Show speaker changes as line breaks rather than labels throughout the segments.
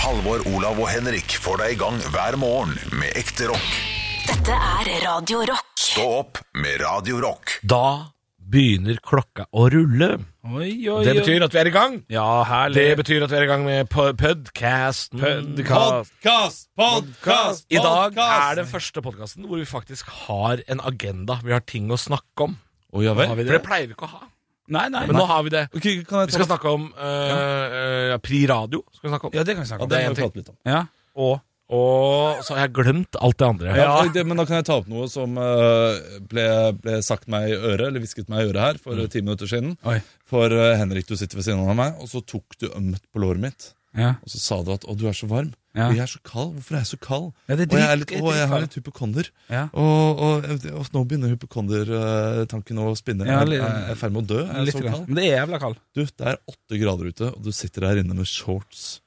Halvor, Olav og Henrik får deg i gang hver morgen med ekte rock.
Dette er Radio Rock.
Stå opp med Radio Rock.
Da begynner klokka å rulle.
Oi, oi,
Det
oi.
betyr at vi er i gang.
Ja, herlig.
Det betyr at vi er i gang med po- podcasten.
Podcast,
Podcast,
podcast,
I dag
podcast.
er den første podcasten hvor vi faktisk har en agenda. Vi har ting å snakke om.
Å, ja vel.
For det pleier vi ikke å ha.
Nei, nei.
Men nå har vi det.
Ok, kan jeg
Vi
ta
skal snakke om øh, øh, Pri Radio. Skal vi snakke om.
Ja, det kan vi snakke om.
det er en ting.
Ja. Og
Og så har jeg glemt alt det andre.
Ja. oi, det, men da kan jeg ta opp noe som eh, ble, ble sagt meg i øret, eller hvisket meg i øret her for eh, ti minutter siden.
Mm. Oi.
For eh, Henrik, du sitter ved siden av meg, og så tok du ømt på låret mitt.
Ja.
Og så sa du at 'å, du er så varm'.
Ja.
Og jeg er så kald. Hvorfor er jeg så kald?
Ja, det er
og jeg, er
drit-
litt,
det er
å, jeg har
dritkaldt.
litt hypokonder.
Ja.
Og, og, og nå begynner hypokondertanken å spinne.
Ja,
jeg
litt-
jeg er i ferd med å dø. Jeg er
Litt
så
grann.
kald.
Men det er jævla kald.
Du, det er åtte grader ute, og du sitter der inne med shorts.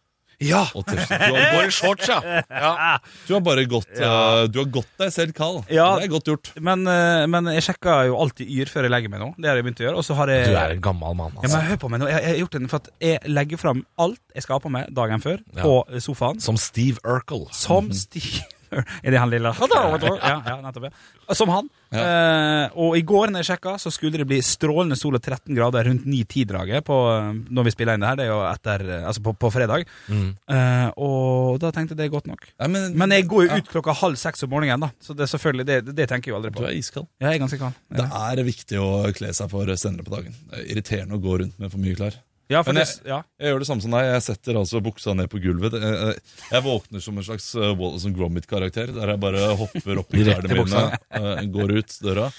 Ja.
Og T-skjorte. Du, har-
Går i shorts, ja. ja.
du har bare gått eh, Du har gått deg selv kald.
Ja.
Det er godt gjort.
Men, eh, men jeg sjekker jo alltid yr før jeg legger meg nå. Det har jeg begynt å gjøre. Og så har jeg
Du er en gammel mann,
ja,
altså.
men hør på meg nå. Jeg, jeg har gjort det for at jeg legger fram alt jeg skal ha på meg dagen før,
Ja.
på sofaen.
Som Steve Urkel.
Som
Mhm.
Steve Er det han lille ja, ja, nettopp, ja. Som han. Eh, og i går når jeg sjekka, så skulle det bli strålende sol og 13 grader rundt 9-10-draget på, eh, når vi spiller inn det her. Det er jo etter, eh, altså på, på fredag.
Mhm.
Eh, og da tenkte jeg det er godt nok.
Nei, men,
Men jeg går jo ut klokka halv seks om morgenen, da. Så det, er selvfølgelig, det, det tenker jeg jo aldri
Du
på.
er iskald.
Ja, jeg er ganske kald.
Det er viktig å kle seg for senere på dagen. Det er irriterende å gå rundt med for mye klær.
Ja, for
Men
det, ja.
Jeg gjør det samme som deg. Jeg setter altså buksa ned på gulvet. Det- eh, Jeg våkner som en slags eh, Wallace and Gromit-karakter, der jeg bare hopper opp i
Direkte
klærne
i buksa,
mine, eh, går ut døra.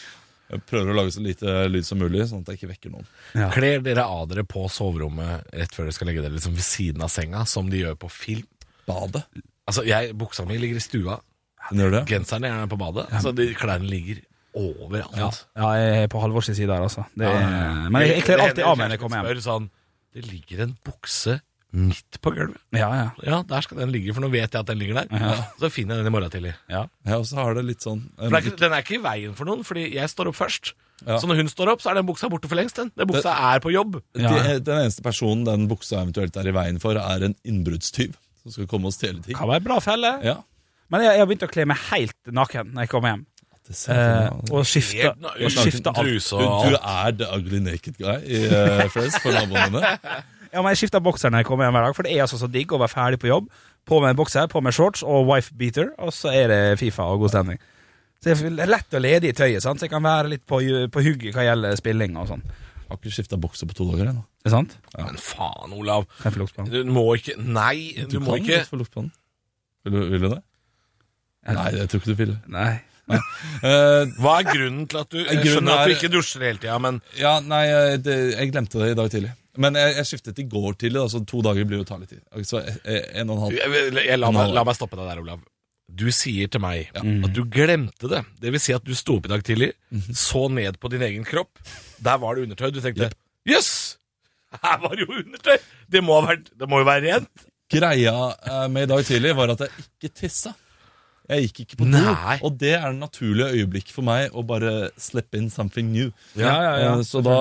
Jeg prøver å lage så lite lyd som mulig, sånn at jeg ikke vekker noen.
Kler dere av dere på soverommet rett før dere skal legge dere liksom ved siden av senga, som de gjør på film?
Badet.
Altså, jeg, Buksa mi ligger i stua,
Den gjør det.
genseren er gjerne på badet, så de klærne ligger overalt.
ja, jeg er på Halvors side her, altså. Det,
Ja.
Men jeg, jeg kler
Det
alltid
hender
av meg når jeg kommer hjem.
kjæresten spør Sånn, det ligger en bukse midt på gulvet.
Ja, ja.
Ja, der skal den ligge, for nå vet jeg at den ligger der. Så finner jeg den i morgen tidlig.
Jeg også har det litt sånn eh,
For det er ikke, den er ikke i veien for noen, fordi jeg står opp først.
Ja.
Så når hun står opp, så er den buksa borte for lengst. Den, den buksa er på jobb.
ja.
de, eh, Den eneste personen den buksa eventuelt er i veien for, er en innbruddstyv som skal komme og stjele ting.
Kan være bra felle.
Ja.
Men jeg, jeg har begynt å kle meg helt naken når jeg kommer hjem.
Det ser
Eh,
jeg for meg.
og skifte,
Helt naken.
og Eh, skifte alt.
Truse
Du, du
og alt.
er the ugly naked guy i eh, Friends for naboene dine.
Ja, men jeg skifter bokser når jeg kommer hjem hver dag, for det er altså så digg å være ferdig på jobb. På med en bokser, på med shorts og wife beater, og så er det Fifa og god stemning. Så det er lett og ledig i tøyet, sant? så jeg kan være litt på, på hugget hva gjelder spilling og sånn.
Har ikke skifta bokser på to dager ennå.
Er det sant?
Men faen, Olav.
Kan jeg få lukte på den?
Du må ikke Nei, du, må ikke
godt få lukt på den. Vil du, vil du det? Nei, jeg tror ikke du vil.
Nei.
Eh,
Hva er grunnen til at du Jeg
Grunnen
skjønner at du
er-
ikke dusjer hele tida, men
ja, nei, eh, det, jeg glemte det i dag tidlig. Men jeg, jeg skiftet i går tidlig, da, så to dager blir jo å ta litt tid. Så eh, en og en halv.
jeg, jeg, la, meg, la meg stoppe deg der, Olav. Du sier til meg at du glemte det. Det vil si at du sto opp i dag tidlig, så ned på din egen kropp. Der var det undertøy. Du tenkte jøss! her var det jo undertøy! Det må, ha vært, det må jo være rent.
Greia eh, med i dag tidlig var at jeg ikke tissa. Jeg gikk ikke på do.
Nei.
Og det er det naturlige øyeblikk for meg å bare slippe in something new.
Ja, ja, ja.
Eh, Så da,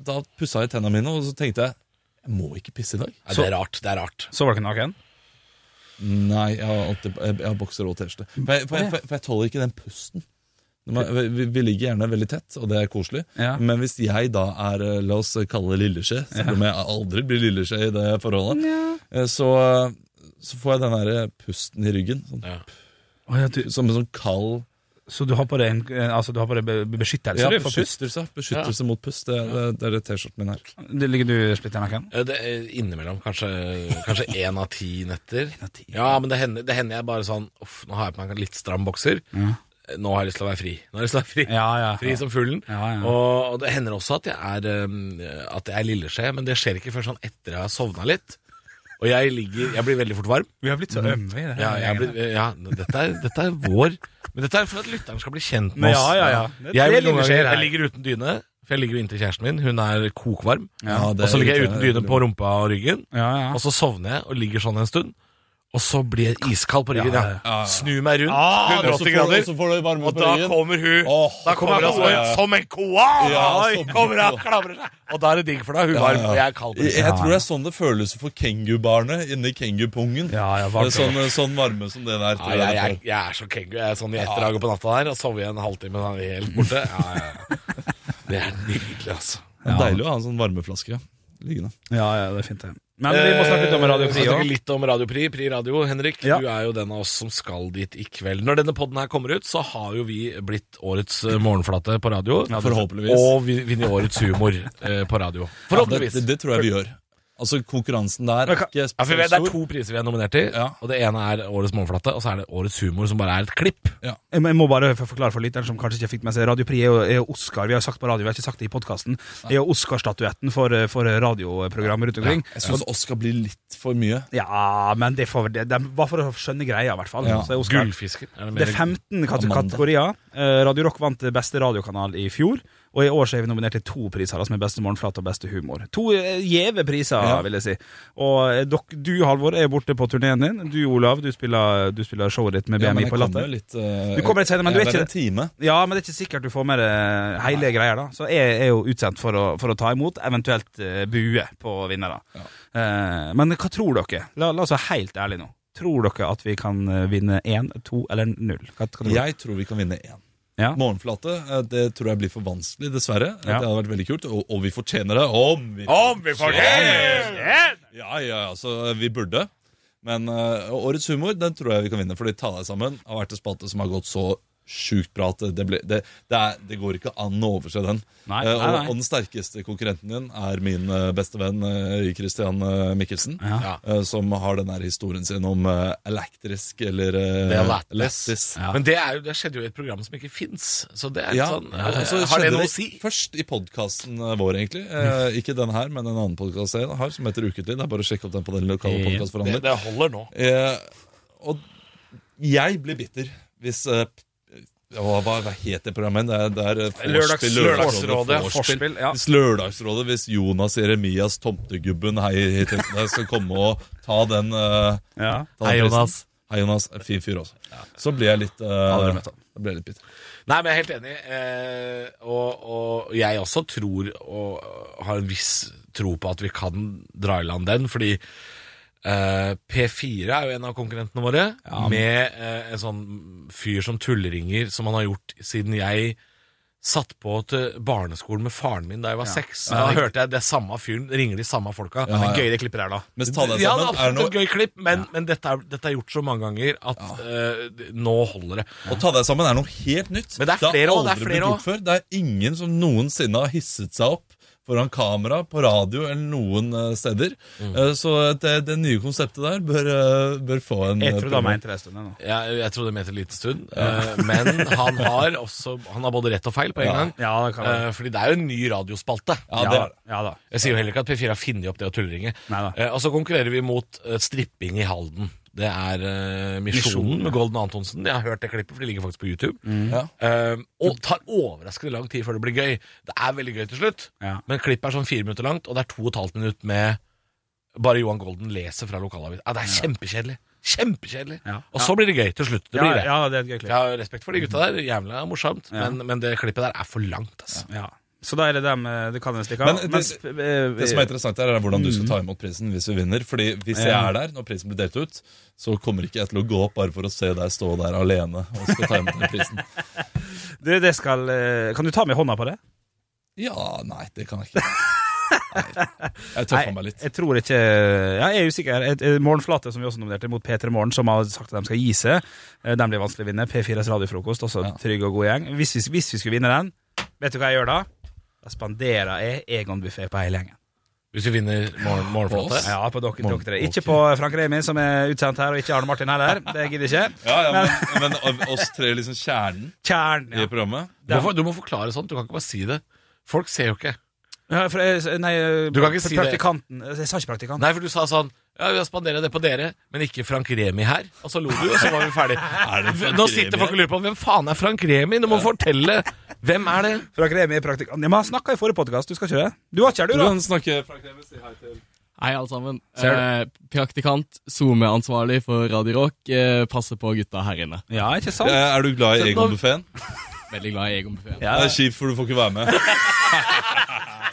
da pussa jeg tennene mine, og så tenkte jeg jeg må ikke pisse i dag.
Nei, det er rart. Det er rart.
Så var du ikke naken?
Nei, jeg har, alltid, jeg, jeg har bokser og T-skjorte. For, jeg- for, jeg- for, jeg- for jeg tåler ikke den pusten. Når Man, vi, vi ligger gjerne veldig tett, og det er koselig.
Ja.
Men hvis jeg da er eh, la oss kalle det lilleskje, selv om jeg aldri blir lilleskje i det forholdet, eh, så, så får jeg den der eh, pusten i ryggen. Sånn,
Ja.
Å, ja, du,
Som en sånn kald
så du har på deg, en, altså, du har på deg be- beskyttelse?
ja,
du, for pust?
beskyttelse, beskyttelse mot pust. Det, det, det er det T-skjorten min her.
Det ligger du splitter naken?
Eh, Det er innimellom kanskje Kanskje én av ti netter. Ja, men det hender, det hender jeg bare sånn Uff, nå har jeg på meg en litt stram bokser. Eh, Nå har jeg lyst til å være fri. Nå har jeg lyst til å være fri.
Ja, ja.
Fri som fuglen.
Ja, ja.
Og, og det hender også at jeg er, um, at jeg er lilleskje, men det skjer ikke før sånn etter jeg har sovna litt. Og jeg ligger Jeg blir veldig fort varm.
Vi har blitt så ømme i det.
Ja, jeg blir, ja dette, er, dette er vår Men dette er for at lytteren skal bli kjent med
Men
oss.
ja, ja, ja. Det-
Jeg,
det
noen
lille
ganger-
skjer her.
jeg ligger uten dyne, for jeg ligger jo inntil kjæresten min. Hun er kokvarm.
Ja, det
og så
er
ligger jeg uten
irriterende.
dyne på rumpa og ryggen.
Ja, ja.
Og så sovner jeg og ligger sånn en stund. og så blir jeg iskald på ryggen. Ja, Snu meg rundt,
og
180
så får du-
grader.
så får du varme
Og
på
da
ryggen.
kommer hun
Åh,
Da kommer hun
ja, ja, ja.
som en koala!
Ja, som en
kommer hun
koala.
klamrer seg. Og da er det digg for deg. Hun er varm, og jeg er kald. på
Jeg,
ryggen.
jeg tror det er sånn det føles for kengubarnet inni kengupungen.
Ja, ja, varmt.
Det er sånn, sånn varme som det der.
Ja,
Tror
jeg,
jeg
jeg,
det
jeg er så kengu. Jeg er sånn i ett drag på natta der og sover i en halvtime sånn helt borte. Ja, ja, ja. Det er nydelig, altså.
er. Deilig å ha en sånn varmeflaske liggende.
Ja, ja, det er fint, det. Men vi må snakke litt om Radio
Eh, Vi
Pri
skal
òg.
snakke litt om Radio Pri. Pri Radio, Henrik.
Ja.
Du er jo den av oss som skal dit i kveld. Når denne podden her kommer ut, så har jo vi blitt årets eh, morgenflate på radio.
forhåpentligvis.
Og vi- vunnet årets humor eh, på radio.
det,
Forhåpentligvis.
det, det tror jeg vi gjør. Altså, konkurransen der er
kan-
ikke
Ja, for
spesielt
Det er
stor.
to priser vi er nominert til.
Ja.
Og Det ene er Årets morgenflate, og så er det Årets humor, som bare er et klipp.
Jeg må- jeg må bare for- forklare for lytteren som kanskje ikke fikk med seg Radio Pri er jo, er jo Oscar. Vi har jo sagt på radio, vi har ikke sagt det i podkasten. Er jo Oscar-statuetten for, eh, for radioprogrammer rundt omkring.
Jeg syns Oscar blir litt for mye.
Ja, men det, får, det, det var for å skjønne greia, i hvert fall.
Ja.
Så er Oscar-
Gullfisken. er det mer-
Det er 15 kate
Amanda.
kategorier. Eh, Radio Rock vant beste radiokanal i fjor. Og i år så er vi nominert til to priser, altså med beste morgenflate og beste humor. To eh, gjeve priser,
Ja.
vil jeg si. Og eh, dok, du, Halvor, er borte på turneen din. Du, Olav, du spiller, du spiller showet ditt med
Ja,
BMI
men jeg
på
kommer
Latter.
litt eh,
Du kommer litt senere, men du
jeg
er ikke
en time.
Ja, men det er ikke sikkert du får med deg hele greia, da. Så jeg er jo utsendt for å, for å ta imot, eventuelt eh, bue på vinnere. Eh, men hva tror dere? La, la oss være helt ærlige nå. Tror dere at vi kan eh, vinne én, to eller null? Hva, hva tror dere?
Jeg tror vi kan vinne én.
Ja.
Morgenflate eh, det tror jeg blir for vanskelig, dessverre. Eh,
Ja.
Det hadde vært veldig kult, og, og vi fortjener det. Om vi,
Om vi får det!
Ja, ja, ja, så eh, vi burde. Men eh, årets humor den tror jeg vi kan vinne, for de tar deg sammen. Har vært en spalte som har gått så sjukt bra at det, ble, det, det, er, det går ikke an å overse den.
Nei,
Eh,
nei,
og,
nei.
og den sterkeste konkurrenten din er min eh, beste venn eh, Christian eh, Mikkelsen.
Ja.
eh, Som har den der historien sin om eh, elektrisk eller
Det
eh,
er lættis.
lættis.
Ja.
Men det, er jo, det skjedde jo i et program som ikke fins. Så det er litt
Ja,
sånn eh,
og så
Har det
skjedde
noe å si?
Først i podkasten vår, egentlig. Eh, ikke den her, men en annen podkast jeg har, som heter Uketid. Det er bare å sjekke opp den på den lokale
Det,
podkastforhandleren.
det holder nå.
Eh, og jeg blir bitter hvis eh, hva, hva hva het det programmet? Det er, det er eh, Vorspiel,
Lørdags- Lørdagsrådet,
Vorspiel.
Forspill, ja.
Hvis Lørdagsrådet, hvis Jonas Jeremias, tomtegubben, hei, hit, hit, skal komme og ta den eh,
Ja.
ta den
Hei,
prisen.
Jonas.
Hei, Jonas. Fin fyr også. Så blir jeg litt eh,
Aldri møtt han.
Da blir jeg litt bitter.
Nei, men jeg er helt enig. Eh, og, og jeg også tror og har en viss tro på at vi kan dra i land den, fordi eh, P4 er jo en av konkurrentene våre, med eh, en sånn fyr som tulleringer, som han har gjort siden jeg satt på til barneskolen med faren min da jeg var seks. Da hørte jeg det samme fyren, ringer de samme folka.
Ja, ja.
Gøy det klippet der, da.
Mens ta deg
Ja, det er
sammen er det
absolutt
noe
et gøy klipp, men, men dette, er, dette er gjort så mange ganger at eh, nå holder det.
Å ta deg sammen er noe helt nytt.
Men det er flere også, det er
aldri
flere
blitt gjort før. Det er ingen som noensinne har hisset seg opp foran kamera, på radio eller noen eh, steder.
Mm.
Eh, Så det, det nye konseptet der bør, eh, bør få en
Jeg
eh,
tror det
promo.
var meg en stund nå.
Ja, jeg trodde det mente liten stund, eh, men han har også Han har både rett og feil på en
Ja.
gang.
Ja, det kan være.
Eh, fordi det er jo en ny radiospalte.
Ja, det er det.
Ja da.
Jeg sier jo heller ikke at P4 har funnet opp det å tulleringe.
Neida.
Eh, og så konkurrerer vi mot eh, stripping i Halden. Det er eh, Misjonen med Golden Antonsen. Jeg har hørt det klippet, for det ligger faktisk på YouTube.
Ja.
Eh, og tar overraskende lang tid før det blir gøy. Det er veldig gøy til slutt,
Ja.
men klippet er sånn fire minutter langt, og det er to og et halvt minutt med bare Johan Golden leser fra lokalavis. Ja, det er kjempekjedelig. Kjempekjedelig.
Ja.
Og så blir det gøy til slutt. Det
Ja,
blir det.
ja, det er et gøy
Jeg
klipp.
har respekt for de gutta der. Jævla morsomt.
Ja.
Men, men det klippet der er for langt, altså.
Ja. Så da er det dem eh, du kan stikke av.
Men det-
Mens, eh,
Det som er interessant her, er hvordan du skal ta
Mm.
imot prisen hvis vi vinner. Fordi hvis jeg er der når prisen blir delt ut, så kommer ikke jeg til å gå opp bare for å se deg stå der alene og skal ta imot den prisen.
du, det skal, eh, kan du ta med hånda på det?
Ja, nei, det kan jeg ikke. Nei. Jeg tøffer meg litt.
jeg tror ikke ja, Jeg er usikker. Et, et morgenflate, som vi også nominerte, mot P3 Morgen, som har sagt at de skal gi seg. Eh, Den blir vanskelig å vinne. P4s radiofrokost, også
Ja.
trygg og god gjeng. Hvis vi, hvis vi skulle vinne den, vet du hva jeg gjør da? Da spanderer jeg Egon-buffé på hele gjengen.
Hvis vi vinner morgen,
På oss?
morgenflate.
Ja, på dere, dere tre.
Morgen-
Ikke på Frank Remi, som er utsendt her, og ikke Arne Martin heller. Det gidder jeg ikke.
Ja, ja, men, men oss tre, liksom kjernen
Kjern.
i
Ja.
programmet
Du må, for- du må forklare sånt. Du kan ikke bare si det. Folk ser jo ikke.
Ja, for, jeg- nei, eh,
Du kan ikke si det.
praktikanten. Jeg sa ikke praktikanten.
Nei, for du sa sånn Ja, vi spanderer det på dere, men ikke Frank Remi her. Og så lo du, og så var vi
det
ferdige.
Frank
Nå sitter
Remi
folk og lurer på hvem faen er Frank Remi? Du må fortelle. Hvem er det?
Frank Remi er praktikant. Ja, men han snakka i forrige podkast, du skal ikke det? Du var ikke her, du,
Du
da?
kan snakke
Hei, alle sammen.
Ser
Eh, praktikant, SoMe-ansvarlig for Radio Rock. Eh, passer på gutta her inne.
Ja, ikke sant?
Eh, Er du glad i
Sett nå-
Egon-buffeen?
Veldig glad i Egon Buffet.
Det er kjipt, for du får ikke være med.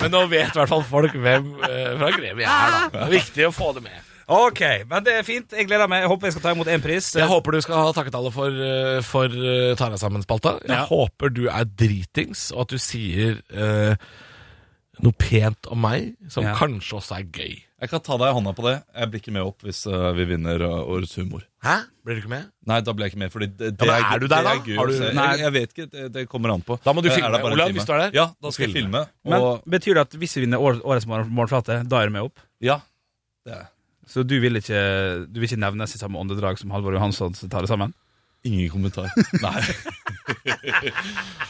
Men nå vet i hvert fall folk hvem eh, fra Greve jeg er, da. Det er viktig å få det med.
Ok, men det er fint. Jeg gleder meg. Jeg håper jeg skal ta imot én pris.
Jeg håper du skal ha takketallet for, eh, for eh, Ta deg sammen-spalta. Jeg
Ja.
håper du er dritings, og at du sier eh, noe pent om meg som
Ja.
kanskje også er gøy.
Jeg kan ta deg i hånda på det. Jeg blir ikke med opp hvis eh, vi vinner eh, Årets humor.
Hæ? Blir du ikke med?
Nei, da blir jeg ikke med, fordi det, det
Ja, men er du der
det
da?
gøy
Har
å
du-
se.
Nei.
Jeg, jeg vet ikke, det, det kommer an på.
Da må du
Eh, er
filme.
det bare en
Olav,
time?
hvis du er der,
Ja, da skal jeg filme.
Men
Og,
betyr det at hvis vi vinner år, årets morgen- morgenflate, da er du med opp?
ja, det er
Så du vil ikke, du vil ikke nevnes i samme åndedrag som Halvor Johansson som tar det sammen?
Ingen kommentar. Nei.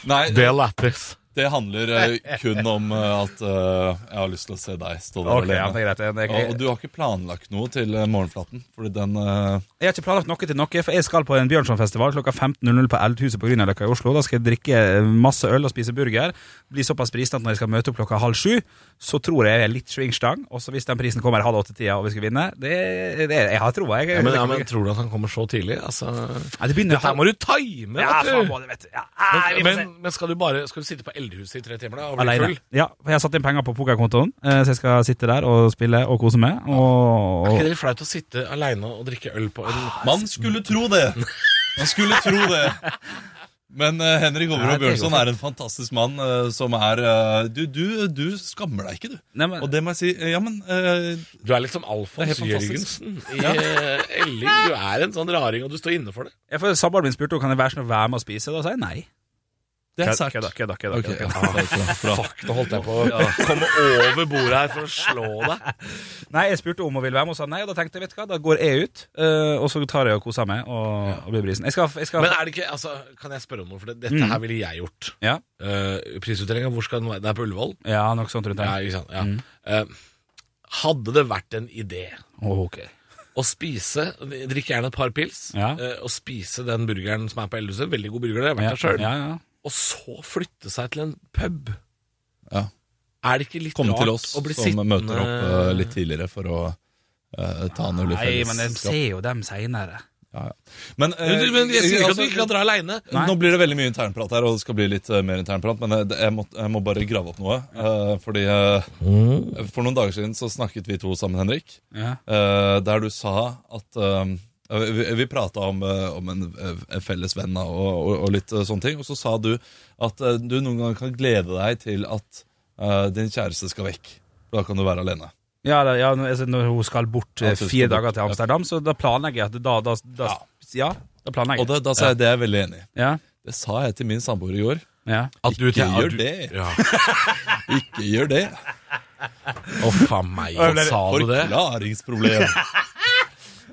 Nei,
Det er lættis.
det handler eh, kun om eh, at eh, jeg har lyst til å se deg stå der
Ok, ja, det
alene.
er greit. Jeg, jeg,
Ja, og du har ikke planlagt noe til eh, Morgenflaten? Fordi den eh,
jeg har ikke planlagt noe til noe, for jeg skal på en Bjørnsonfestival klokka 15.00 på Eldhuset på Grünerløkka i Oslo. Da skal jeg drikke eh, masse øl og spise burger. Bli såpass prisen at når jeg skal møte opp klokka halv sju, så tror jeg jeg er litt swingstang. Og så hvis den prisen kommer halv åtte-tida og vi skal vinne det, det, Jeg har troa, jeg.
Ja, men, ja, men tror du at han kommer så tidlig? Altså,
Nei, det begynner
her må du time,
Ja,
vet du.
faen må det, vet du. Ja, nei, vi får
Men,
se.
men skal du bare skal du sitte på Eldhuset i tre timer da og bli
Alene.
full?
Ja, for jeg har satt inn penger på pokerkontoen, eh, så jeg skal sitte der og spille og kose meg.
Er
Og,
ikke det litt flaut å sitte aleine og drikke øl på en
Ah,
Man skulle tro det! Man skulle tro det. Men eh, Henrik
Ja, det
Overhaug
går
Bjørnson er en fantastisk mann eh, som er eh, du, du, du skammer deg ikke, du.
Nei, men-
Og det må jeg si. eh, Ja, men eh,
Du er liksom
Det
Alfons
er helt fantastisk.
Jørgensen i eh, Elling. Du er en sånn raring, og du står inne for det.
Jeg får Samboeren min spurte om kan jeg være sånn å være med og spise. Da sa jeg nei.
det er sært.
Kødda, kødda, kødda,
Ok,
kødda.
ja, bra, bra.
Fuck, nå holdt jeg på å komme over bordet her for å slå deg.
Nei, jeg spurte om hun ville være med, og sa nei. Og da tenkte jeg, vet du hva, da går jeg ut, eh, og så tar jeg og koser meg og, og blir brisen. Jeg skal, jeg skal
Men er det ikke, altså, kan jeg spørre om noe? For det, dette her ville jeg gjort.
Ja,
Uh, Prisutdelinga, hvor skal den være? Det er på Ullevål?
ja nok sånt rundt
Ja,
her.
ikke sant. Ja. Eh, hadde det vært en idé
Åh, ok.
å spise, drikke gjerne et par pils,
Ja.
eh, og spise den burgeren som er på Eldhuset, veldig god burger, det har jeg
Ja,
vært der sjøl,
ja, ja.
og så flytte seg til en pub?
Ja.
Er det ikke litt
Komme
rart
til oss
å
som
bli
møter opp eh, litt tidligere for å eh, ta en øl i
Nei, men jeg
fellesskap.
ser jo dem seinere.
Ja, ja. Men, eh,
Men, men jeg sier ikke at
altså,
du ikke kan dra aleine.
Nei.
Nå blir det veldig mye internprat her, og det skal bli litt eh, mer internprat, men eh, det- jeg må, jeg må bare grave opp noe. eh, fordi eh,
Mm.
For noen dager siden så snakket vi to sammen, Henrik,
Ja.
eh, der du sa at eh, Vi, vi prata om, eh, om en, eh, en felles venn da, og, og, og litt eh, sånne ting, og så sa du at eh, du noen ganger kan glede deg til at eh, din kjæreste skal vekk. Da kan du være alene.
Ja, da, ja, når- altså, når hun skal bort eh,
Altså, hun
fire
skal
dager
bort,
til
ja.
Amsterdam, så da planlegger jeg at da, da, da Ja, da planlegger
Og
jeg.
det, da sa jeg det er jeg veldig enig i.
Ja,
Det sa jeg til min samboer i går.
ja.
At du
Ikke
at
gjør
du-
det.
Ja.
Ikke gjør det.
Å, faen meg, hva sa du det?
Forklaringsproblem.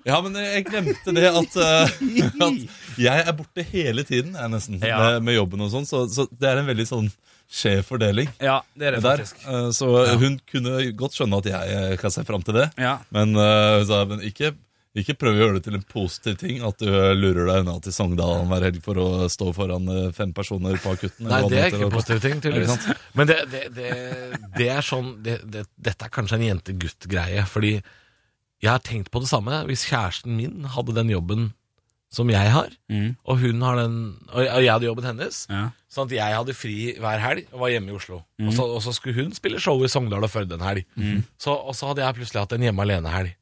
Ja, men jeg glemte det at, eh, at jeg er borte hele tiden jeg nesten
Ja.
med, med jobben og sånn, så, så det er en veldig sånn skjev fordeling.
Ja, det er det
Der.
faktisk.
Eh, Så hun kunne godt skjønne at jeg eh, kan se fram til det,
Ja.
men eh, hun sa men ikke, ikke prøv å gjøre det til en positiv ting at du eh, lurer deg unna til Sogndalen hver helg for å stå foran eh, fem personer på akutten.
Nei,
eller hva
det er ikke
heter,
en
og-
positiv ting,
Er det
tydeligvis. Men det, det, det, det er sånn det, det, Dette er kanskje en jente-gutt-greie, fordi jeg har tenkt på det samme. Hvis kjæresten min hadde den jobben som jeg har,
Mm.
og hun har den Og jeg og jeg hadde jobben hennes,
Ja.
sånn at jeg hadde fri hver helg og var hjemme i Oslo. Og, så, og så skulle hun spille show i Sogndal og Førde en helg. Så, og så hadde jeg plutselig hatt en hjemme alene-helg.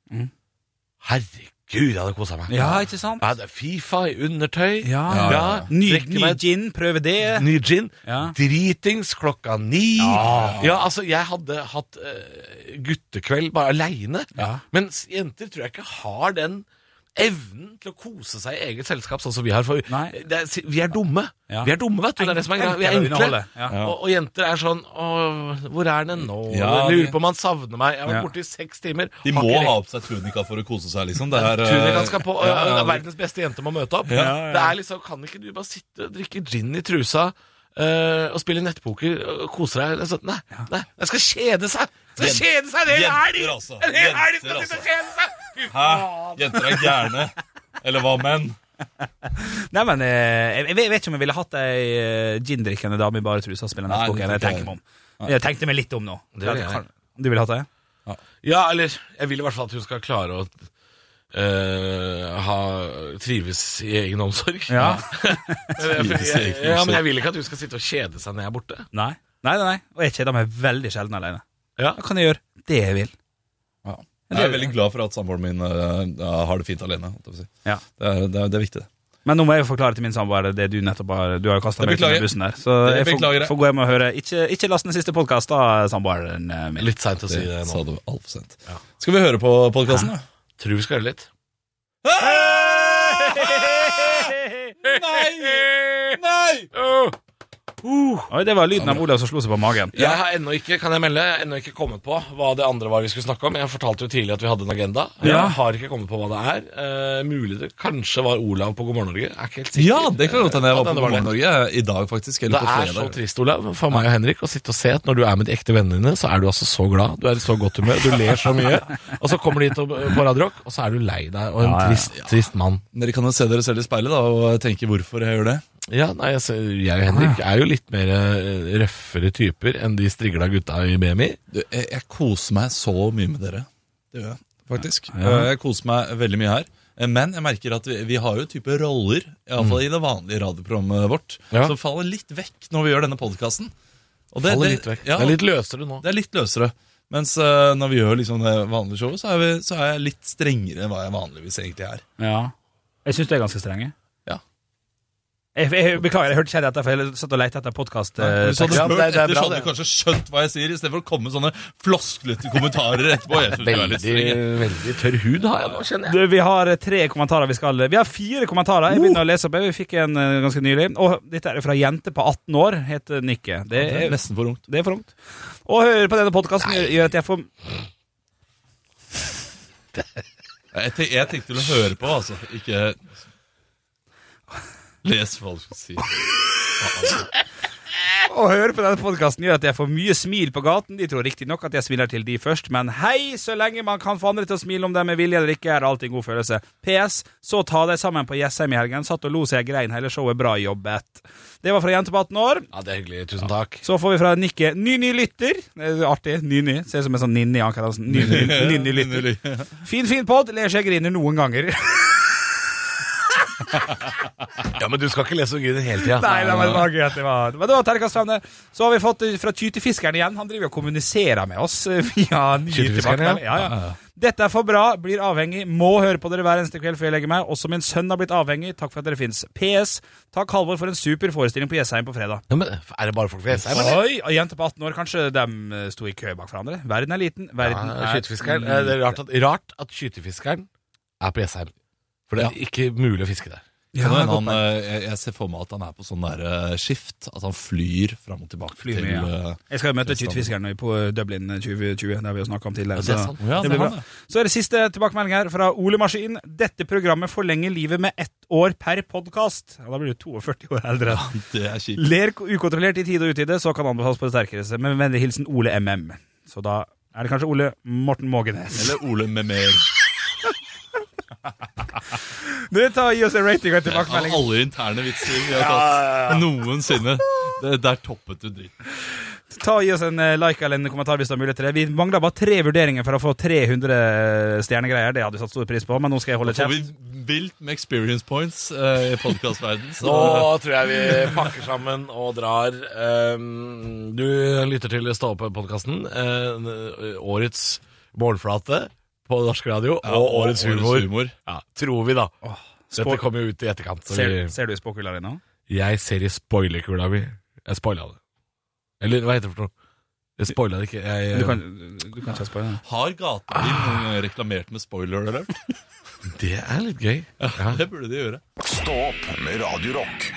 Herregud, jeg hadde kosa meg.
ja, ikke sant?
Ja, det er Fifa i undertøy.
Ja.
ja, ja.
Ny,
Drikke
ny
meg
gin, prøve det.
ny gin,
Ja.
dritings klokka ni.
Ja.
Ja. altså Jeg hadde hatt eh, guttekveld bare aleine,
Ja.
mens jenter tror jeg ikke har den evnen til å kose seg i eget selskap, sånn som vi har. For
Nei.
det er, vi er dumme.
Ja.
Vi er dumme, vet du. Det er det som er greia. Vi er
Enklere å
enkle.
underholde, ja.
Og, og jenter er sånn Å, hvor er den nå?
Ja,
Lurer
de-
på om han savner meg. Jeg har
Ja.
vært borte i seks timer.
De
Har
må
ikke
ha
rekt-
på seg tunika for å kose seg, liksom. Det er, eh,
Tunikan skal på, og
ja, ja, ja.
verdens beste jente må møte opp.
Ja, ja.
Det er liksom, Kan ikke du bare sitte og drikke gin i trusa eh, og spille nettpoker og kose deg? Eller sånn? Nei, nei, det skal kjede seg! Det skal
Jenter-
kjede seg en hel helg!
jenter, altså.
En hel helg skal
Jenter,
sitte og kjede seg! Fy
Hæ?
faen!
Jenter er gærne. Eller hva, menn?
Nei, men eh, jeg, jeg vet ikke om jeg ville hatt ei eh, gindrikkende dame i bare trusa og spille
Nei,
nettpoker.
det
Jeg
tenker jeg.
tenker meg om Jeg tenkte meg litt om nå.
Det gjør jeg.
Du ville hatt det?
Ja, eller jeg vil i hvert fall at hun skal klare å eh, ha, trives i egen omsorg.
Ja.
Men jeg,
Trives i
jeg,
egen
ja, men
omsorg.
jeg vil ikke at hun skal sitte og kjede seg når jeg er borte.
Nei. nei, nei, nei. Og jeg kjeder meg veldig sjelden alene.
Ja.
Da kan jeg gjøre det jeg vil.
Ja. Jeg er veldig glad for at samboeren min eh, ja, har det fint alene. holdt jeg på å si.
Ja.
Det, er, det, er, det er viktig, det.
Men nå må jeg jo forklare til min samboer det du nettopp har Du har jo kasta
Jeg
meg ut av
beklager.
den bussen der. Så jeg
Jeg beklager
får,
det.
får gå hjem og høre. Ikke, ikke last den siste podkast, da, samboeren eh, min.
Litt seint å si det
Det
nå.
sa du altfor sent. Skal vi høre på podkasten, da?
Tror vi skal høre litt.
Nei! Nei!
Oi, det var lyden av Olav som slo seg på magen.
Jeg har ennå ikke kan jeg melde, jeg har ennå ikke kommet på hva det andre var vi skulle snakke om. Jeg fortalte jo tidlig at vi hadde en agenda. Jeg
Ja.
har ikke kommet på hva det er. Eh, mulig det kanskje var Olav på God morgen Norge. Jeg er ikke helt sikker.
Ja, det kan godt hende
Ja,
jeg var
den
på
var det.
Morgen Norge i dag, faktisk. Eller
Det
på
er
fredag.
så trist, Olav, for meg og Henrik å sitte og se at når du er med de ekte vennene dine, så er du altså så glad, du er i så godt humør, du ler så mye, og så kommer de hit og- på Radio Rock, og så er du lei deg og en trist, trist mann.
Dere kan jo se dere selv i speilet da, og tenke hvorfor jeg gjør det.
Ja, nei, altså, jeg og Henrik er jo litt mer eh, røffere typer enn de strigla gutta i BMI.
Du, jeg, jeg koser meg så mye med dere. Det gjør jeg, faktisk. Eh,
Ja.
Jeg koser meg veldig mye her. Eh, Men jeg merker at vi, vi har jo type roller, iallfall i det vanlige radioprogrammet vårt,
Mm. Ja.
som faller litt vekk når vi gjør denne podkasten. Det,
Faller
det,
litt vekk.
ja,
Det er litt løsere nå.
det er litt løsere. Mens eh, når vi gjør liksom det vanlige showet, så er, vi, så er jeg litt strengere enn hva jeg vanligvis egentlig er.
Ja. Jeg syns det er ganske strenge.
Ja.
Jeg, jeg, beklager, jeg hørte ikke dette, for jeg satt og lette etter eh, podkast.
Hvis du hadde
Ja,
spurt
det- det er
etter,
bra,
så hadde du kanskje skjønt hva jeg sier, istedenfor å komme med sånne flosklete kommentarer etterpå. Jeg synes du er litt streng.
Veldig, veldig tørr hud har jeg nå, kjenner jeg.
Du, vi har eh, tre kommentarer vi skal Vi har fire kommentarer. Jeg begynner å lese opp. Vi fikk en eh, ganske nylig. Og dette er fra ei jente på 18 år, heter Nikke. Det
Det er
er,
nesten for ungt.
det er for ungt. Å høre på denne podkasten gjør at jeg får
Jeg, tenk, jeg tenkte du ville høre på, altså. Ikke Les hva du skal si.
Å høre på denne podkasten gjør at jeg får mye smil på gaten. De tror riktignok at jeg smiler til de først, men hei, så lenge man kan få andre til å smile om de er vilje eller ikke, er det alltid en god følelse. PS. Så ta deg sammen på Jessheim i helgen. Satt og lo så jeg grein hele showet. Bra jobbet. Det var fra jente på 18 år.
Ja, det er hyggelig. Tusen takk.
Så får vi fra Nikke ny-ny lytter. Det er Artig. Ny-ny. Ser ut som en sånn ninni Anker Hansen. Ny-ny lytter. Fin, fin pod. Ler så jeg griner noen ganger.
Ja, Men du skal ikke lese om Gud hele tida.
Nei, nei, men det var gøy at det var Men det var terningkast fem, det. Så har vi fått eh, fra Tytefiskeren igjen. Han driver og kommuniserer med oss eh, via nye
Tytefiskeren,
tilbakemeldinger. Ja, ja. Dette er for bra. Blir avhengig. Må høre på dere hver eneste kveld før jeg legger meg. Også min sønn har blitt avhengig. Takk for at dere fins. PS. Takk Halvor for en super forestilling på Jessheim på fredag.
men Er det bare folk fra Jessheim, eller?
Oi, og jenter på 18 år, kanskje de eh, sto i kø bak hverandre? Verden er liten. Verden
Ja,
er
skytefiskeren. Eh, Det er rart at, rart at skytefiskeren er på Jessheim. For det er ikke mulig å fiske der.
Ja,
Kan hende
godt
han, eh, jeg, jeg ser for meg at han er på sånn der eh, skift. At han flyr fram og tilbake.
Flyr
til,
mye, ja.
eh,
Jeg skal jo møte Tytefiskeren på Dublin 2020, det har vi jo snakka om tidligere.
det er
Så,
sant.
Ja,
det
det
blir
er
bra.
han,
så er det siste tilbakemelding her fra Ole Maskin. Dette programmet forlenger livet med ett år per podkast. Ja, da blir du 42 år eldre.
Det er kjipt.
Ler ukontrollert i tide og utide, så kan anbefales på det sterkeste. Med vennlig hilsen Ole MM. Så da er det kanskje Ole Morten Mågenes.
Eller Ole med mer.
Du, ta og Gi oss en rating og en
Av
tilbakemelding.
alle interne vitser vi har tatt noensinne. Det, der toppet du dritten.
Ta og Gi oss en eh, like eller en kommentar hvis du har mulighet til det. Vi mangla bare tre vurderinger for å få 300 stjernegreier. Det hadde vi satt stor pris på, men nå skal jeg holde
Får
kjeft.
vi vilt med experience points eh, i podkastverdenen,
Nå
så
tror jeg vi pakker sammen og drar. Ehm, Du lytter til Stå opp-podkasten. eh, Årets morgenflate på norsk radio
Ja,
og årets humor.
humor.
Ja, tror vi, da. Dette
Spå-
kommer jo ut i etterkant. Så
Ser,
vi
ser du i spåkula di nå?
Jeg ser i spoilerkula mi. Jeg spoila det. Eller hva heter det for noe? Jeg spoila det ikke. Jeg,
Du kan, du kan ikke spørre.
Har gata din
Ah.
noen gang reklamert med spoiler alert?
Det er litt gøy. Ja.
Det burde de gjøre.
Stå opp med Radio Rock.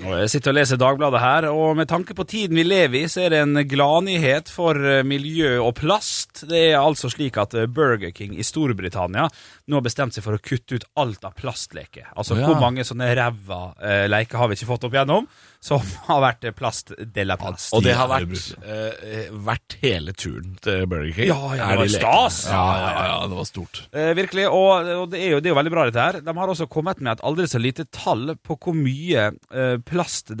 Og Jeg sitter og leser Dagbladet her, og med tanke på tiden vi lever i, så er det en gladnyhet for eh, miljø og plast. Det er altså slik at eh, Burger King i Storbritannia nå har bestemt seg for å kutte ut alt av plastleker. Altså
Ja.
hvor mange sånne ræva eh, leker har vi ikke fått opp igjennom, som har vært eh, plast de la plast.
Og det har
er
vært, eh, vært hele turen til Burger King.
Ja, ja,
Er
det
de
var
lekne?
stas.
Ja, ja,
ja, ja, det var stort.
Eh, virkelig, og, og det, er jo, det er jo veldig bra dette her. De har også kommet med et aldri så lite tall på hvor mye eh, plast de,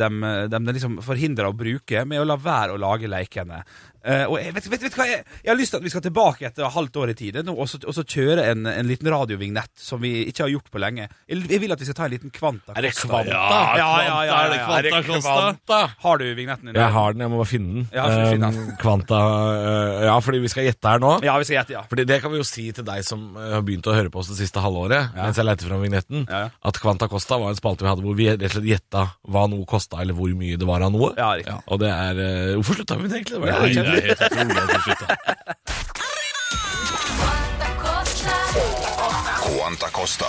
de liksom forhindrer å bruke med å la være å lage leikene. Eh, og jeg, vet, vet, vet du hva, jeg, jeg har lyst til at vi skal tilbake etter halvt år i tid eh, nå, og, så, og så kjøre en, en liten radiovignett som vi ikke har gjort på lenge. Jeg, jeg vil at vi skal ta en liten kvanta.
Er det
Costa.
Kvanta?
Ja, ja, ja, ja, ja, ja.
Er det Kvanta Costa?
Har du vignetten din?
Jeg har den, jeg må bare finne den.
Ja, for å finne den.
Eh, Kvanta eh, Ja, fordi vi skal gjette her nå.
Ja, vi skal gjette, ja.
Fordi Det kan vi jo si til deg som eh, har begynt å høre på oss det siste halvåret, mens jeg leter fram vignetten,
Ja, ja.
at Kvanta Costa var en spalte vi hadde hvor vi rett og slett gjetta hva noe kosta, eller hvor mye det var av noe.
Ja, riktig.
Og det er eh, Hvorfor slutta vi med det egentlig? Det var
Nei,
jo-
det er helt utrolig at du slutta.
Quanta Costa.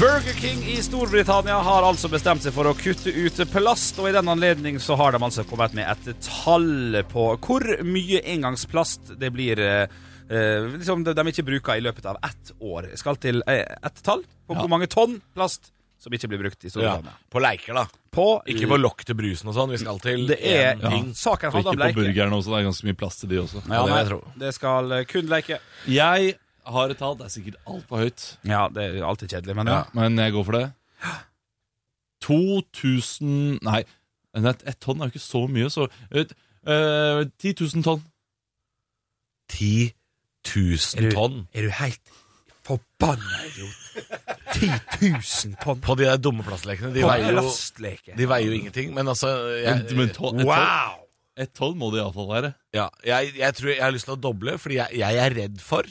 Burger King i Storbritannia har altså bestemt seg for å kutte ut plast, og i den anledning så har de altså kommet med et tall på hvor mye engangsplast det blir eh, eh, liksom de, de ikke bruker i løpet av ett år. Jeg skal til eh, ett tall på hvor mange tonn plast som ikke blir brukt
Ja,
i Storbritannia.
på leker, da.
På,
Ikke på lokk til brusen og sånn. Vi skal til
Det er
en ting.
Saken
Og
handler
ikke
om
på
leker.
burgerne også, det er ganske mye plass til de også.
Ja,
Ja, det vil
nei,
jeg tro.
det skal eh, kun leke.
Jeg har et tall, det er sikkert altfor høyt,
Ja, det er alltid kjedelig, men ja.
ja. men jeg går for det. 2000 Nei, men et, et tonn er jo ikke så mye, så et, eh, 10 000 tonn.
10 000 tonn
Er du helt forbanna idiot? 10 000 tonn
på de der dumme plastlekene. De
på
veier jo,
plastleke.
de veier jo ingenting, men altså jeg,
Men- men tonn- et tonn-
Wow!
Et tonn må det iallfall være.
ja, jeg, jeg tror jeg har lyst til å doble, fordi jeg, jeg er redd for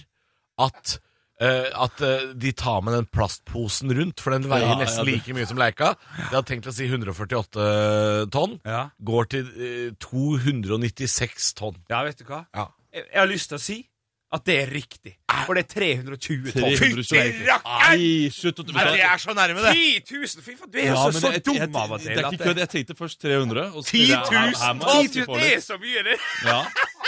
at eh, at eh, de tar med den plastposen rundt, for den veier
Ja, ja,
nesten
det-
like mye som leika. Jeg hadde tenkt å si 148 tonn.
Ja.
Går til eh, 296 tonn.
ja, vet du hva?
Ja.
Jeg, jeg har lyst til å si at det er riktig. For det er 320 tonn.
320. Nei, slutt å
Nei, jeg er så nærme det!
10 000! Fy faen, du er jo så, så dum av og
Det
til.
er
at
ikke kødd. Jeg tenkte først 300. Og så
10 000
Her- her må jeg
10 000
få litt.
det er så mye, det!
Ja.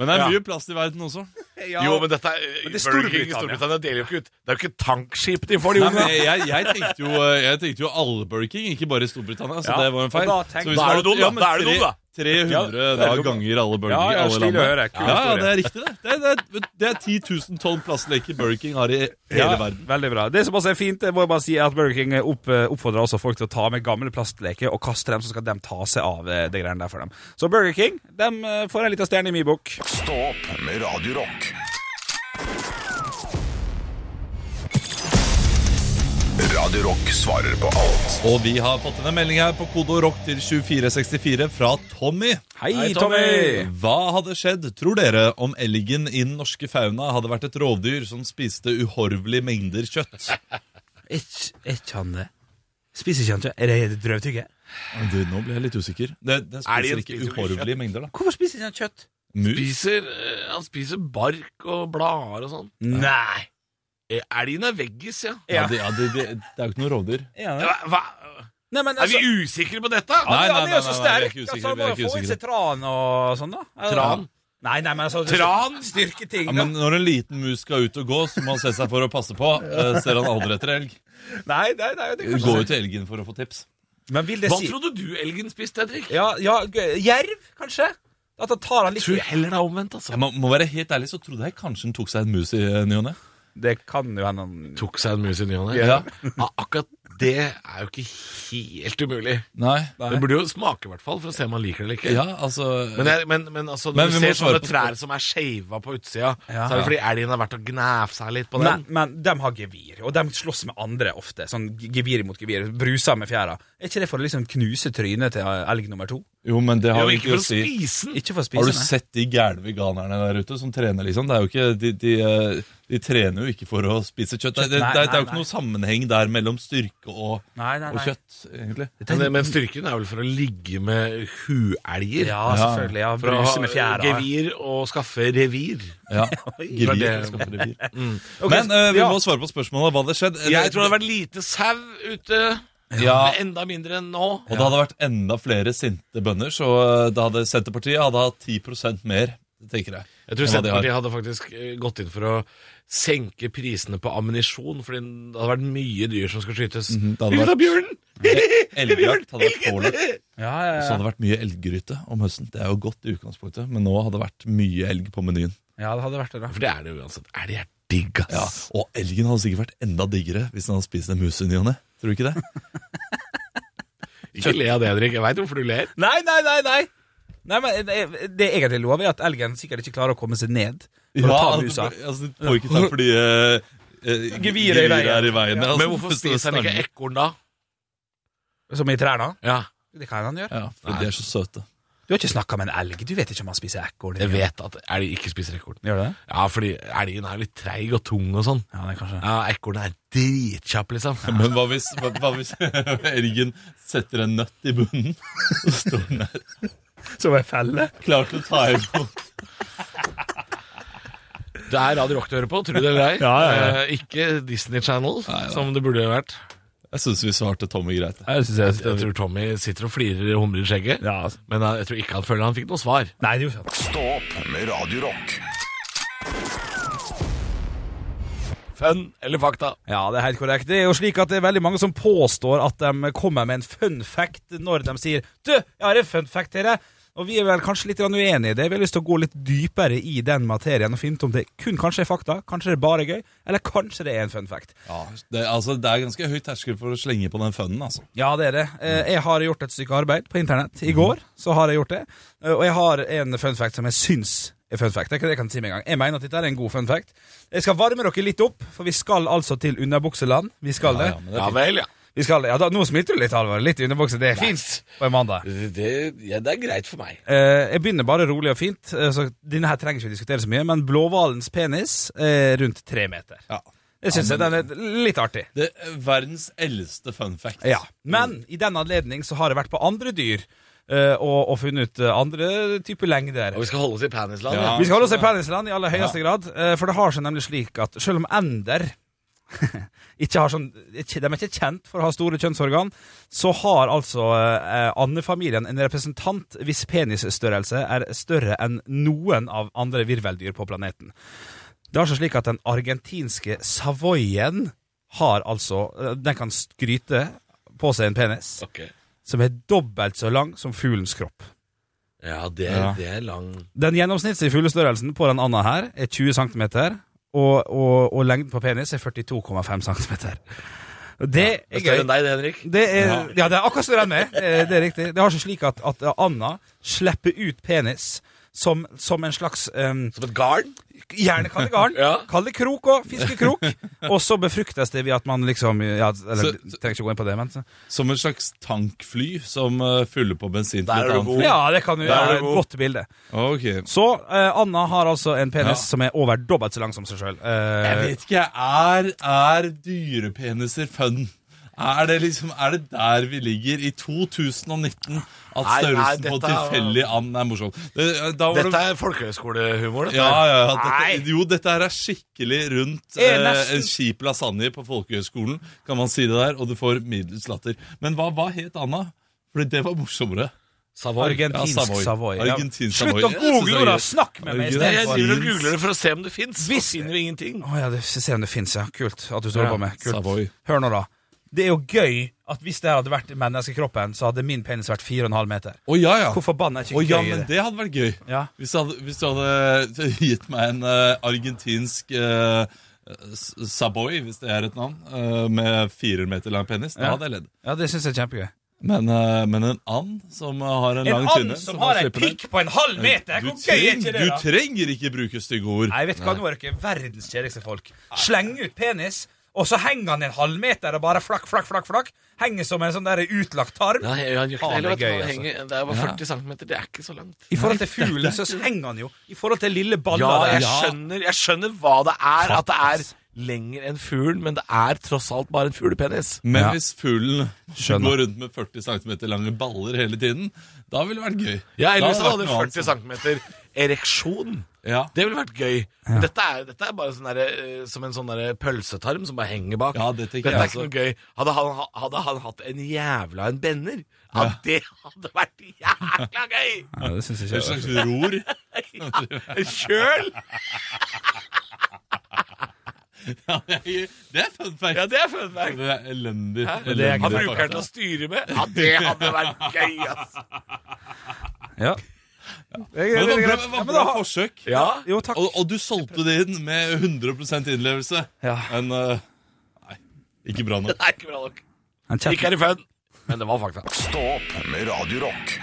Men det er
Ja.
mye plass i verden også.
Ja.
Jo, men dette er, eh,
Men det er
Burger King i
Storbritannia.
Storbritannia deler jo ikke ut. Det er jo ikke tankskip de får, de
Nei,
ungene.
men jeg, jeg, tenkte jo, eh, jeg tenkte jo alle Burger King, ikke bare i Storbritannia. Så
Ja,
det var en
og
feil.
da tenk-
Så hvis
Da er
man-
du dum, da.
ja, men
Da er du
tre-
dum, da.
300
Ja, det er
da
dum.
ganger alle Burger
Ja,
King.
ja,
alle
stilig å
landene.
høre. Kul
Ja, ja,
historie.
det er riktig, det. Det er, det er, det er 10 000 tonn plastleker Burger King har i hele
Ja,
verden.
veldig bra. Det som også er fint, det må jeg bare si er at Burger King opp, eh, oppfordrer også folk til å ta med gamle plastleker og kaste dem, så skal de ta seg av eh, det greiene der for dem. Så Burger King de eh, får en liten stjerne i min bok.
Stå opp med Radio Rock. Radio Rock svarer på alt.
Og vi har fått en melding her på kode rock til 2464 fra Tommy.
Hei, Tommy!
Hva hadde skjedd, tror dere, om elgen i den norske fauna hadde vært et rovdyr som spiste uhorvelige mengder kjøtt?
Er ikke han det? Spiser ikke han kjøtt? Er det drøvtygge?
Du, nå ble jeg litt usikker. Det,
Er de en
det spiser ikke
spiser ikke
uhorvelige mengder, da.
Hvorfor spiser ikke han kjøtt?
Mus?
spiser, eh, han spiser bark og blader og sånn.
Nei!
Eh, Elgen er veggis, ja.
Ja, det, ja, det, det, det er jo ikke noe rovdyr.
Hva, hva?
Nei, men
Er
altså,
vi usikre på dette?
Nei,
han er
nei,
jo så
nei, nei, vi er
sterk.
ikke
altså, han
usikre, vi er
må jo få
ikke
i
usikre.
seg tran og sånn, da. Er det-
Tran?
Nei, nei, men altså
Tran?
Styrketing,
Ja,
da.
men når en liten mus skal ut og gå, så må han se seg for å passe på. Eh, Ser han aldri etter elg.
Nei, nei, nei, det er kanskje-
Går jo til elgen for å få tips.
Men vil det
Hva
si
trodde du elgen spiste, Henrik?
Ja, ja, g- jerv, kanskje? At han tar han litt
tror heller det er omvendt, altså.
Ja, man må være helt ærlig, så trodde jeg kanskje han tok seg en mus i eh, ny og ne.
Det kan jo hende han
Tok seg en mus i ny og ne.
Ja.
Ja, Akkurat det er jo ikke helt umulig.
Nei.
Det burde jo smake, i hvert fall, for å se om man liker det eller ikke.
Ja, altså
Men, jeg, men, men altså, når
Men
du
vi må
ser
svare
sånne
på
trær
spørsmål.
som er skeiva på utsida,
Ja.
så er det fordi elgen har vært og gnævd seg litt på
men,
den.
men de har gevir, og de slåss med andre ofte. Sånn g- gevir mot gevir, bruser med fjæra. Er ikke det for å liksom knuse trynet til eh, elg nummer to?
Jo, men det har
Jo,
jo
ikke for å
si.
spise den.
Ikke for å spise
Har du
nei.
sett de gærne veganerne der ute som trener, liksom? Det er jo ikke, de, de, eh, de trener jo ikke for å spise kjøtt. Det, det,
Nei,
det, det er
nei,
jo ikke
nei.
noe sammenheng der mellom styrke og,
Nei, nei,
og
nei.
kjøtt, egentlig.
Men, men styrken er vel for å ligge med huelger.
Ja,
Ja.
selvfølgelig. Ja,
For å ha
bruse med fjæra.
gevir og skaffe revir.
Ja.
var
Gevir.
det-
skaffer revir.
Ok,
Men eh, vi
ja.
må svare på spørsmålet hva hadde skjedd.
Jeg tror det hadde vært lite sau ute.
Ja.
men Enda mindre enn nå.
Og det hadde vært enda flere sinte bønder, så eh, da hadde Senterpartiet hadde hatt 10 mer, tenker jeg.
Jeg tror
enn hva de har.
Senterpartiet hadde faktisk eh, gått inn for å senke prisene på ammunisjon, fordi det hadde vært mye dyr som skulle skytes.
Mhm, det hadde
Ut av
vært-
bjørnen!
Elgjakt hadde vært pålagt.
Ja, ja,
Og så
ja.
hadde det vært mye elggryte om høsten. Det er jo godt i utgangspunktet, men nå hadde det vært mye elg på menyen.
ja, det hadde vært det, da.
For det er det jo uansett. Er det er digg,
Ja,
ass.
og elgen hadde sikkert vært enda diggere hvis den hadde spist en mus i ny og ne. Tror du ikke det?
Ikke le av det, Henrik. Jeg veit hvorfor du ler.
Nei, nei, nei! nei Nei, men det, det er egentlig lov, er at elgen sikkert ikke klarer å komme seg ned. For
Ja,
å ta
altså,
musa.
altså, det får ikke tak fordi eh, eh,
Geviret er i veien.
er i veien. ja, altså,
Men hvorfor
så
spiser han ikke
stanger-
ekorn da?
Som i trærne.
Ja,
Det kan han gjøre.
Ja, for de er så søte.
Du har ikke snakka med en elg. Du vet ikke om han spiser ekorn.
Jeg vet at elg ikke spiser ekorn.
Gjør du det?
Ja, fordi elgen er litt treig og tung og sånn.
Ja, det er kanskje
Ja, Ekornet er dritkjapp, liksom.
Men hva hvis, hva, hva hvis elgen setter en nøtt i bunnen, og står den der
Som ei felle?
klar til å ta imot?
Det er Radio Rock du hører på, tror du det eller ei.
Ja, ja,
Eh, ikke Disney Channel, som det burde vært.
Jeg syns vi svarte Tommy greit.
Jeg synes
Jeg tror Tommy sitter og flirer og humrer i skjegget,
Ja, altså.
men jeg tror ikke han føler han fikk noe svar.
Nei, det gjorde ikke
Stå opp med Radio Rock.
Fun eller fakta?
Ja, det er helt korrekt. Det er jo slik at det er veldig mange som påstår at de kommer med en fun fact når de sier Du, jeg har en fun fact til deg. Og vi er vel kanskje litt grann uenige i det. Vi har lyst til å gå litt dypere i den materien og finne ut om det kun kanskje er fakta, kanskje det er bare gøy, eller kanskje det er en fun fact.
Ja, det, altså, det er ganske høy terskel for å slenge på den fønnen. Altså.
Ja, det er det. Eh, Jeg har gjort et stykke arbeid på internett. I går så har jeg gjort det. Eh, Og jeg har en fun fact som jeg syns er fun fact. Jeg kan, jeg kan si med en gang. Jeg mener at dette er en god fun fact. Jeg skal varme dere litt opp, for vi skal altså til underbukseland. Vi skal det.
Ja, men det
Ja
er fint.
vel, ja.
Vi skal, ja, da, nå smilte du litt, Halvor. Litt underbukse, det er fint på en mandag.
Det, ja, det er greit for meg.
Eh, jeg begynner bare rolig og fint, eh, så denne her trenger ikke vi diskutere så mye, men blåhvalens penis er rundt tre meter.
Ja.
Det syns jeg den er litt artig.
Det er verdens eldste fun fact.
Ja, Men i den anledning så har jeg vært på andre dyr eh, og, og funnet ut eh, andre typer lengder.
Og vi skal holde oss i Panisland.
Ja.
Ja.
Vi skal holde oss i penisland i aller høyeste grad, eh, for det har seg nemlig slik at selv om ender ikke har sånn, ikke- de er ikke kjent for å ha store kjønnsorgan, så har altså eh, andefamilien en representant hvis penisstørrelse er større enn noen av andre virveldyr på planeten. Det har seg slik at den argentinske savoyen har altså, eh, den kan skryte på seg en penis
Ok.
som er dobbelt så lang som fuglens kropp.
Ja, det,
Ja.
det er lang
Den gjennomsnittlige fuglestørrelsen på den anda her er 20 cm, og, og, og lengden på penis er 42,5 cm. Det er
Større
gøy.
enn deg, det, Henrik.
Det er, ja, det er akkurat større enn meg. Eh, Det er riktig. Det har seg slik at, at anda slipper ut penis som, som en slags em,
Som et garn.
Gjerne kall det garn.
Ja.
Kall det krok òg. Fiskekrok. Og så befruktes det ved at man liksom ja, Eller
Så-
trenger ikke gå inn på det, men så-
Som en slags tankfly som eh, fyller på bensin
Der er
til
du
et annet
god.
fly.
Ja, det kan jo
Oh. Der er
være
du
et
god.
godt bilde.
Ok.
Så eh, Anna har altså en penis
Ja.
som er over dobbelt så lang som seg Eh, sjøl.
Jeg vet ikke. Er, er dyrepeniser fun? Er det, liksom, er det der vi ligger i 2019 at
Nei, nei,
størrelsen på
dette er-
tilfeldig and er morsom? Det, eh, da var
Dette
det,
er folkehøyskolehumor, dette.
ja, ja, ja,
Nei.
dette, jo, dette her er skikkelig rundt
Jeg er
eh,
nesten-
en kjip lasagne på folkehøyskolen, kan man si det der, og du får middels latter. Men hva, hva het Anna? Fordi det var morsommere.
Savoy.
Argentinsk
Ja,
Savoy.
Savoy.
ja.
Argentinsk
Slutt
Savoy.
å
Jeg synes det
google,
er
da!
gøy.
Snakk med meg
Argentinsk.
Jeg
istedenfor.
driver og googler det for å se om det fins. Så finner vi ingenting.
Å ja, det ser om det fins, ja. Kult at du står
Ja,
på med.
Savoy.
Kult. Hør nå, da. Det er jo gøy at hvis det hadde vært menneskekroppen, så hadde min penis vært 4,5 meter.
Å ja, ja.
Hvor forbanna er ikke
Å ja,
gøy
men
i det?
det hadde vært gøy.
Ja.
Hvis, du hadde, hvis du hadde gitt meg en eh, argentinsk eh, s- Savoy, hvis det er et navn, eh, med fire meter lang penis, da
Ja.
hadde jeg ledd.
Ja, det syns jeg er kjempegøy.
Men, eh, men en and som har en,
En
lang
and
tynne
som har en
slipper ned-
pikk på en halv meter!
du,
Hvor gøy er
treng-
ikke det,
du
da?
trenger ikke bruke stygge ord.
Nei, vet du hva, nå er dere verdens kjedeligste folk. Sleng ut penis, og så henger han en halv meter og bare flakk, flakk, flakk. flakk Henger som en sånn der utlagt tarm.
Ja, jeg- han gjør ikke det
Faen,
heller.
det er
vet du.
gøy,
Han henger- Det er altså. bare 40 cm, det er ikke så langt.
I forhold til fuglen så henger han jo. I forhold til lille baller
Ja,
der.
jeg skjønner, jeg skjønner hva det er. At det er lenger enn fuglen, men det er tross alt bare en fuglepenis.
Men
Ja.
hvis fuglen
Skjønner.
går rundt med 40 cm lange baller hele tiden, da ville det vært gøy.
Ja, ellers
Da
hadde det
vært noe annet
40
som-
cm ereksjon.
Ja.
Det ville vært gøy. Men Dette, er, dette er bare sånn derre, eh, som en sånn derre pølsetarm som bare henger bak.
Ja, det
dette
tenker jeg
er ikke noe
også.
gøy. Hadde han, ha- hadde han hatt en jævla en benner, ja, det hadde vært jækla gøy!
Ja, det synes jeg
Et
ikke.
slags ror.
Ja, Kjøl!
Det er fun fact.
Ja, det er fun fact.
Det er elendig.
Han bruker den til å styre med. Ja, det hadde vært gøy, ass!
Ja.
Men det
det er
var
greit. Ja,
bra, det
men
var bra
da-
forsøk.
Ja.
Jo, takk.
Og, og du solgte det inn med 100 innlevelse.
Ja.
Men eh, nei, ikke bra
Det
nok.
er ikke bra nok.
En kjeft.
Ikke er det fun, men det var fakta.
Stå opp med Radio Rock.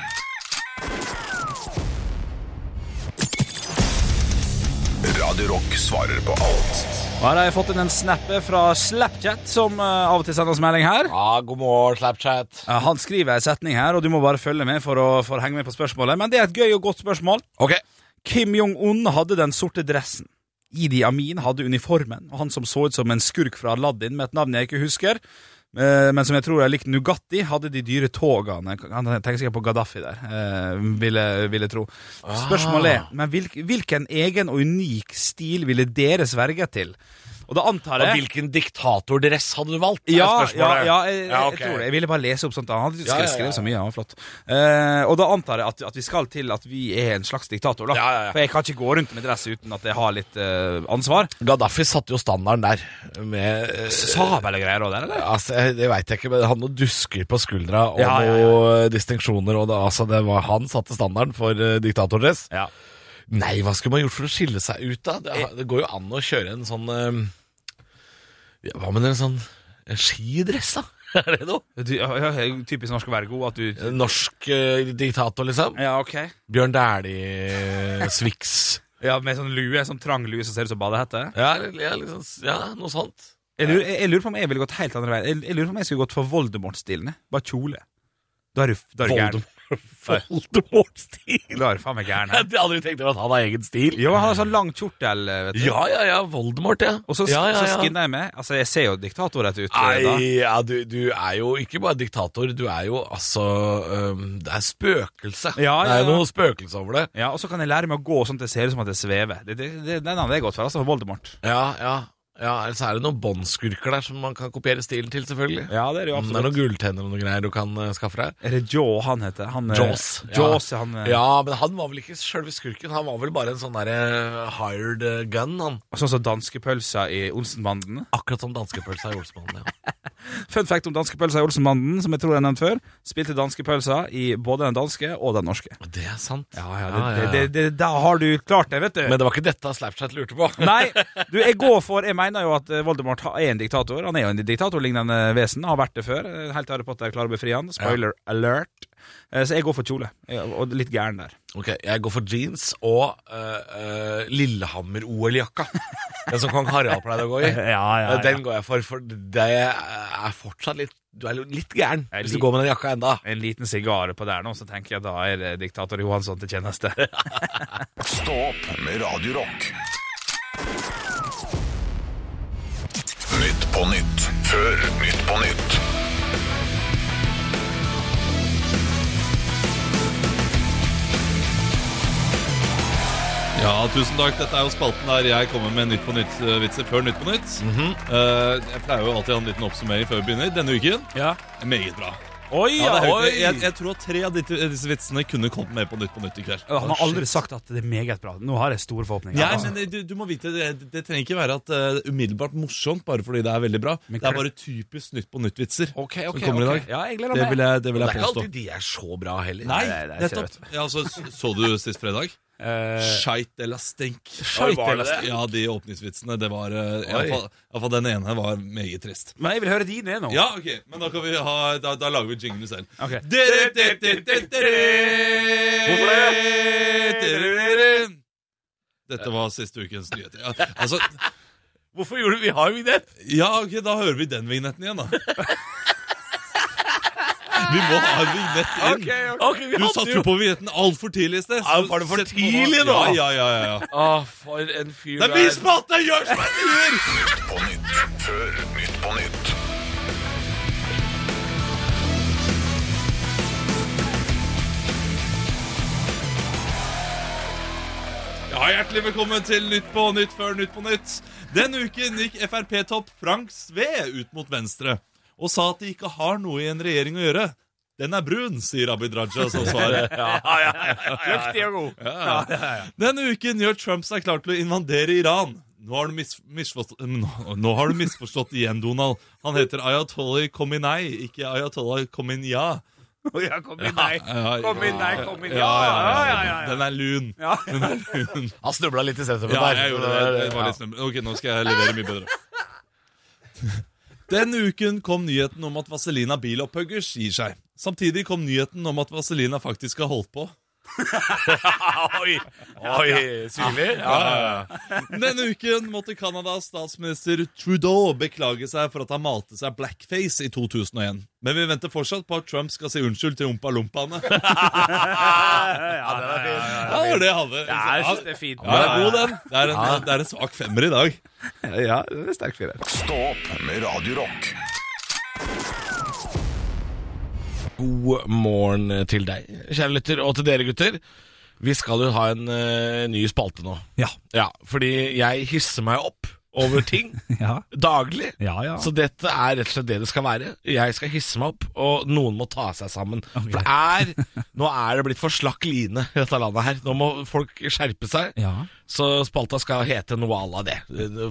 Radio Rock svarer på alt.
Og her har jeg fått inn en snap fra Slapchat, som eh, av og til sender oss melding her.
Ja, god morgen, Slapchat.
Eh, Han skriver en setning her, og du må bare følge med for å, for å henge med på spørsmålet. Men det er et gøy og godt spørsmål.
Ok.
Kim Jong-un hadde den sorte dressen. Idi Amin hadde uniformen, og han som så ut som en skurk fra Aladdin med et navn jeg ikke husker, eh, men som jeg tror er likt Nugatti, hadde de dyre togene. Han tenker sikkert på Gaddafi der, eh, vil jeg, vil jeg tro.
Ah.
Spørsmålet er, men hvilk, hvilken egen og unik stil ville dere sverget til? Og da antar
Og
jeg
hvilken diktatordress hadde du valgt? er
ja, ja,
spørsmålet.
ja, jeg, jeg,
Ja, ok.
tror det. Jeg ville bare lese opp sånt. Han
Ja,
hadde
ja, ja,
skrevet så
ja.
mye, han var flott. Eh, og da antar jeg at, at vi skal til at vi er en slags diktator, da.
Ja, ja, ja.
For jeg kan ikke gå rundt med dress uten at jeg har litt eh, ansvar.
Gaddafi satte jo standarden der. Med, eh,
Sabel og greier òg der, eller?
altså, jeg- det veit jeg ikke, men han hadde noen dusker på skuldra og
Ja, ja, ja.
noen distinksjoner. Og det, altså, det var, han satte standarden for eh, diktatordress.
Ja.
Nei, hva skulle man gjort for å skille seg ut, da? Det, har- det går jo an å kjøre en sånn eh, ja, Hva med en sånn en skidress, da? Er det noe?
Du, ja, ja, typisk norsk å være god at du
Norsk eh, diktator, liksom?
Ja, ok.
Bjørn eh, Dæhlie-Swix.
Ja, Med sånn lue, sånn trang lue som ser ut som badehette.
Ja, eller- ja, liksom, s- ja, noe sånt.
Jeg lurer, jeg, jeg lurer på om jeg ville gått helt andre veien. Jeg, jeg lurer på om jeg skulle gått for Voldemort-stilen. jeg. Bare kjole. Da er du, da er du gæren.
Voldemort-stil.
Da er du faen meg gæren.
Jeg
jeg.
hadde aldri tenkt over at han har egen stil.
Jo, han har sånn lang kjortel, vet du.
Ja, ja, ja, Voldemort, ja.
Og så,
ja, ja,
så skinner jeg med. Altså, jeg ser jo diktatorrett ut. eh, da.
Nei, ja, du, du er jo ikke bare diktator, du er jo altså øhm, Det er spøkelse.
Ja,
Det er
ja, ja.
jo noe spøkelse over det.
Ja, Og så kan jeg lære meg å gå sånn at det ser ut som at jeg svever. Det, det, det, den hadde jeg gått for. altså Voldemort.
Ja, ja. ja Ellers er det noen båndskurker der som man kan kopiere stilen til, selvfølgelig.
Ja, det er det jo
Mm, Det er
absolutt.
noen gulltenner og noen greier du kan eh, skaffe deg.
Er det Jaw han heter? Han, eh,
Jaws.
Jaws ja. han eh,
Ja, men han var vel ikke sjølve skurken, han var vel bare en sånn derre hired eh, gun, han.
Sånn som danskepølsa i Olsenbanden.
Akkurat som danskepølsa i Olsmannen, ja.
Fun fact om danskepølsa i Olsenbanden, som jeg tror jeg nevnte før. Spilte danskepølsa i både den danske og den norske.
Det er sant.
det, Det, det, det, da har du klart det, vet du.
Ah, Men det var ikke dette Slapchat lurte på.
Nei, du, jeg går for Jeg mener jo at eh, Voldemort ha- er en diktator. Han er jo en diktatorlignende vesen. Har vært det før. Eh, Helt til Harry Potter klarer å befri han. Spoiler alert. Eh, Så jeg går for kjole. Jeg- Og litt gæren der.
Ok, Jeg går for jeans og øh, øh, Lillehammer-OL-jakka. Den som kong Harald pleide å gå i. Eh, Den går jeg for, for det er fortsatt litt Du er jo litt gæren
Jeg
hvis du
lik-
går med den jakka enda.
En liten sigar på der nå, så tenker jeg da er det diktator Johansson til tjeneste.
Stå opp med Radio Rock. Nytt på nytt før Nytt på nytt.
Ja, tusen takk. Dette er jo spalten der jeg kommer med Nytt på nytt-vitser før Nytt på nytt. Eh, jeg pleier jo alltid å ha en liten oppsummering før vi begynner. Denne uken
Ja.
meget bra.
Oi,
Ja, det er høyt.
oi.
jeg, jeg tror at tre av disse, disse vitsene kunne kommet med på Nytt på nytt i kveld.
Han har aldri sagt at det er meget bra. Nå har jeg store forhåpninger.
Ja, men eh, du, du må vite, det, det trenger ikke være at eh, umiddelbart morsomt bare fordi det er veldig bra.
Men
det
kl-
er bare typisk Nytt på nytt-vitser
Ok, ok,
som kommer
ok.
i dag.
Ja, jeg gleder
Det
meg.
vil jeg, det
Det
vil
er
jeg
ikke
påstå.
alltid de er så bra heller.
Nei,
Nei, det er ikke
nettopp. Ja, altså, så, så du sist fredag?
Eh,
Skeit eller stenk.
Oi, var det det?
Ja, de åpningsvitsene. Det var
Oi.
eh, i hvert fall- i hvert fall den ene var meget trist.
men jeg vil høre dine nå.
Ja, ok, men da, kan vi ha, da, da lager vi jingle selv.
Ok.
Dere, dere, dere, dere, dere.
Hvorfor
Dere, dere. Dette var siste ukens nyheter. Ja, altså,
Hvorfor gjorde vi har jo det?
ja, ok, da hører vi den vignetten igjen, da. Vi må ha en vignett inn.
Ok, vi
Du
hadde
satt
jo
jo på vignetten altfor tidlig i sted.
Ja,
så
var det for
sett på-
tidlig nå?
Ja, ja, ja, ja.
Å, Ah, for en fyr
Det er min spalte! Gjør som jeg sier!
Nytt på nytt før Nytt på nytt.
Ja, Hjertelig velkommen til Nytt på nytt før Nytt på nytt. Den uken gikk Frp-topp Frank Sve ut mot Venstre og sa at de ikke har noe i en regjering å gjøre. Den er brun, sier Abid Raja som svarer.
Dyktig og god.
Denne uken gjør Trump seg klar til å invadere Iran. Nå har du, mis misforstått, nå, nå har du misforstått igjen, Donald. Han heter Ayatollah Khomeini, ikke Ayatollah Khomeini.
Ja, kom inn, nei.
Ja,
Kom inn, nei, kom inn.
ja, ja, ja,
ja, ja, ja.
Den er lun.
Ja.
Den er lun.
Han snubla litt i settet
Ja, jeg gjorde det. det var litt snømmel. Ok, nå skal jeg levere mye bedre. Den uken kom nyheten om at Vazelina Bilopphøggers gir seg. Samtidig kom nyheten om at Vazelina faktisk har holdt på.
Oi, oi, synlig? Ja, ja, ja.
Denne uken måtte Canadas statsminister Trudeau beklage seg for at han malte seg blackface i 2001. Men vi venter fortsatt på at Trump skal si unnskyld til ompa-lompaene. Ja,
den er fin.
det var det jeg hadde.
jeg
Ja,
synes det er fint.
det er god, den. Det er en, det er en svak femmer i dag.
Ja, det er sterk firer.
Stå opp med Radio Rock.
God morgen til deg, kjære lytter, og til dere gutter. Vi skal jo ha en eh, ny spalte nå.
Ja.
Ja, fordi jeg hisser meg opp over ting
Ja.
daglig.
Ja, ja.
Så dette er rett og slett det det skal være. Jeg skal hisse meg opp, og noen må ta seg sammen. For det er, nå er det blitt for slakk line i dette landet her. Nå må folk skjerpe seg.
Ja,
Så spalta skal hete noe à la det.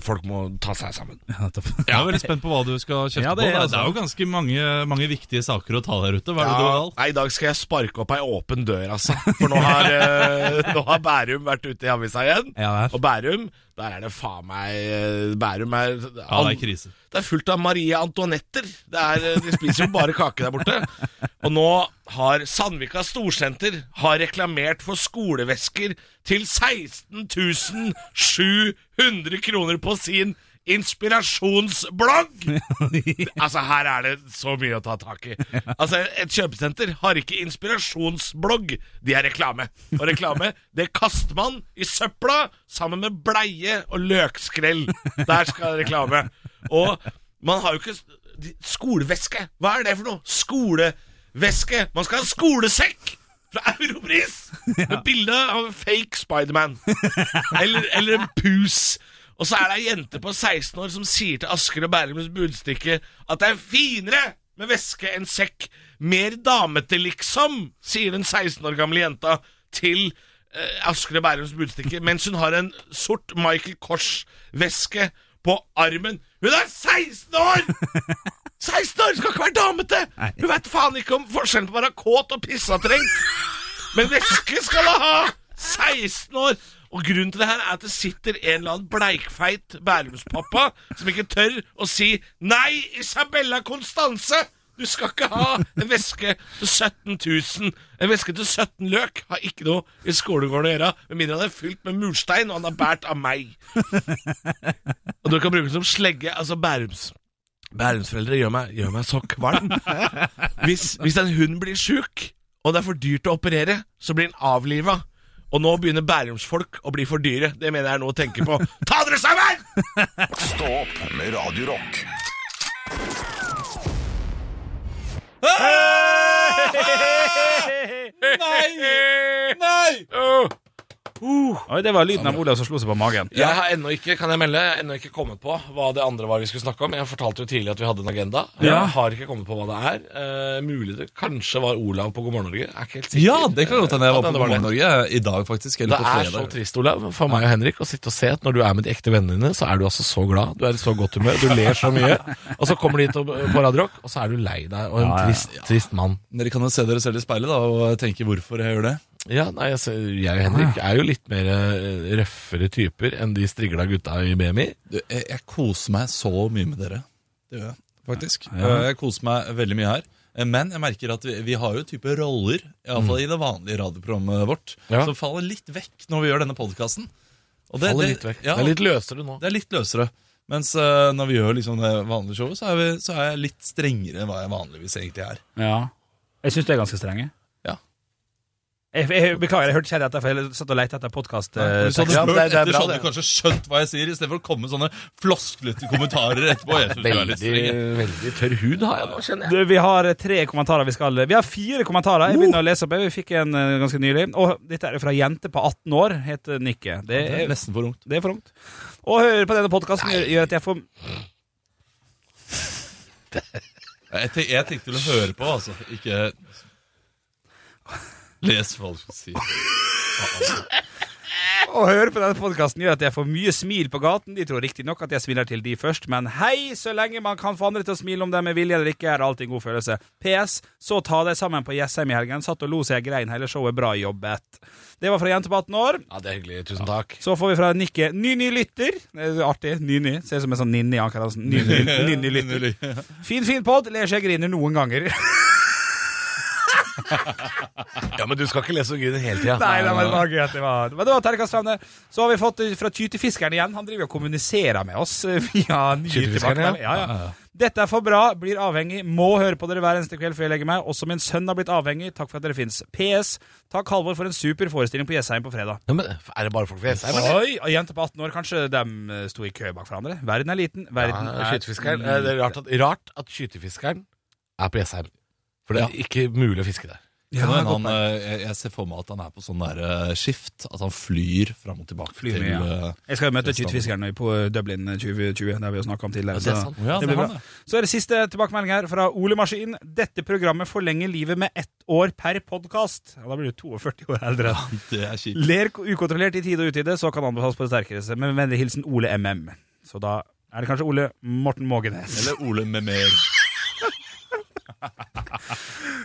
Folk må ta seg sammen.
nettopp.
Jeg er veldig spent på hva du skal kjefte
Ja, det
på.
er
da.
altså.
Det er jo ganske mange, mange viktige saker å ta der ute. Hva er det du har valgt?
nei, I dag skal jeg sparke opp ei åpen dør, altså. For nå har, eh, nå har Bærum vært ute i avisa igjen.
Ja, vel.
Og Bærum, der er det faen meg eh, Bærum er
Ja, det er krise.
Det er fullt av Marie Antoinetter. Det er, De spiser jo bare kake der borte. Og nå har Sandvika Storsenter har reklamert for skolevesker til 16 700 kroner på sin inspirasjonsblogg! Altså, her er det så mye å ta tak i. Altså, Et kjøpesenter har ikke inspirasjonsblogg, de er reklame. Og reklame, det kaster man i søpla sammen med bleie og løkskrell. Der skal reklame. Og man har jo ikke s- Skoleveske, hva er det for noe? Skoleveske. Man skal ha skolesekk! Fra Europris! Med bilde av en fake Spiderman. Eller, eller en pus. Og så er det ei jente på 16 år som sier til Asker og Bærums Budstikke at det er finere med veske enn sekk. Mer damete, liksom, sier den 16 år gamle jenta til eh, Asker og Bærums Budstikke mens hun har en sort Michael Kors-veske på armen. Hun er 16 år! 16 år skal ikke være damete! Hun veit faen ikke om forskjellen på å være kåt og pissetrengt. Men veske skal hun ha! 16 år! Og grunnen til det her er at det sitter en eller annen bleikfeit Bærumspappa som ikke tør å si 'Nei, Isabella Constanze! Du skal ikke ha en veske til 17 000. En veske til 17 løk har ikke noe i skolegården å gjøre, med mindre han er fylt med murstein og han er båret av meg. Og du kan bruke den som slegge. Altså Bærums Bærumsforeldre gjør meg, gjør meg så kvalm. Hvis, hvis en hund blir sjuk, og det er for dyrt å operere, så blir den avliva. Og nå begynner bærumsfolk å bli for dyre. Det mener jeg er noe å tenke på. Ta dere sammen!
Stå opp med Radio Rock.
Nei!
Oi, det var lyden av Olav som slo seg på magen.
Jeg har ennå ikke kan jeg melde, ennå ikke kommet på hva det andre var vi skulle snakke om. Jeg fortalte jo tidligere at vi hadde en agenda. Jeg
Ja.
har ikke kommet på hva det er. Eh, mulig det kanskje var Olav på God morgen Norge. Jeg er ikke helt sikker.
Ja, det kan godt hende jeg
Ja,
var på
det var det.
Morgen Norge i dag, faktisk. Eller
Det
på
er så
fredag.
trist, Olav, for meg og Henrik å sitte og se at når du er med de ekte vennene dine, så er du altså så glad, du er i så godt humør, du ler så mye, og så kommer de hit og- på Radio Rock, og så er du lei deg og en trist, trist mann.
Dere kan jo se dere selv i speilet da, og tenke hvorfor jeg gjør det.
Ja, nei, altså, jeg og Henrik er jo litt mer eh, røffere typer enn de strigla gutta i BMI.
Du, jeg, jeg koser meg så mye med dere. Det gjør jeg, faktisk. Eh, Jeg koser meg veldig mye her. Eh, Men jeg merker at vi, vi har jo type roller, iallfall i det vanlige radioprogrammet vårt,
Ja.
som faller litt vekk når vi gjør denne podkasten.
Faller litt vekk.
Ja,
Det er litt løsere nå.
det er litt løsere. Mens eh, når vi gjør liksom det vanlige showet, så er, vi, så er jeg litt strengere enn hva jeg vanligvis egentlig er.
Ja. Jeg syns det er ganske strenge.
Ja.
Jeg, jeg, beklager, jeg hørte ikke dette, for jeg satt og lette etter eh, podkast.
Hvis du hadde
Ja, men det
spurt
er- det er
etter,
bra,
så hadde
det.
du kanskje skjønt hva jeg sier, istedenfor å komme med sånne flosklete kommentarer etterpå. Jeg synes det er litt streng.
veldig tørr hud har jeg nå, kjenner
Du, vi har tre kommentarer vi skal Vi har fire kommentarer. Jeg begynner å lese opp. Vi fikk en eh, ganske nylig. Og dette er fra ei jente på 18 år, heter Nikke. Det
Det er
er,
nesten for ungt.
det er for ungt. Å høre på denne podkasten gjør at jeg får
Jeg, tenk, jeg tenkte du ville høre på, altså. Ikke Les hva du skal si.
Å høre på denne podkasten gjør at jeg får mye smil på gaten. De tror riktignok at jeg smiler til de først, men hei, så lenge man kan få andre til å smile om dem med vilje eller ikke, er det alltid en god følelse. PS. Så ta deg sammen på Jessheim i helgen. Satt og lo så jeg grein hele showet. Bra jobbet. Det var fra jente på 18 år.
Ja, det er hyggelig. Tusen takk.
Så får vi fra Nikke ny-ny lytter. Eh, Artig. Ny-ny. Ser ut som en sånn Ninni Ankerhansen. Ny-ny lytter. Fin, fin pod. Ler så jeg griner noen ganger.
Ja, men du skal ikke lese om Gud hele tida.
Nei, det var bare gøy at det var Men det var terningkast fem der. Så har vi fått eh, fra Tytefiskeren igjen. Han driver og kommuniserer med oss eh, via nye
Tytefiskeren, ja.
tilbakemeldinger. Ja, ja. Dette er for bra, blir avhengig, må høre på dere hver eneste kveld før jeg legger meg. Også min sønn har blitt avhengig. Takk for at dere fins. PS. Takk, Halvor, for en super forestilling på Jessheim på fredag.
Ja, men er det bare folk fra Jessheim? eller?
Oi, og Jenter på 18 år, kanskje de eh, sto i kø bak hverandre. Verden er liten. Verden
Ja,
er
Skytefiskeren. Eh, Det er rart at, rart at skytefiskeren er på Jessheim. For det er ikke mulig å fiske der.
Ja,
Men
godt
han, eh, jeg, jeg ser for meg at han er på sånn der eh, skift. At han flyr fram og tilbake
Flyr
til
mye, ja.
eh,
Jeg skal jo møte Tytefiskeren nå på eh, Dublin 2020, det har vi jo snakka om tidligere.
sånn. det er
så-
sant.
Ja,
det
det
blir
er
bra.
han, det.
Så er det siste tilbakemelding her fra Ole Maskin. Dette programmet forlenger livet med ett år per podkast. Ja, da blir du 42 år eldre.
Det er kjipt.
Ler ukontrollert i tide og utide, så kan anbefales på det sterkeste. Med vennlig hilsen Ole MM. Så da er det kanskje Ole Morten Mågenes.
Eller Ole med mer.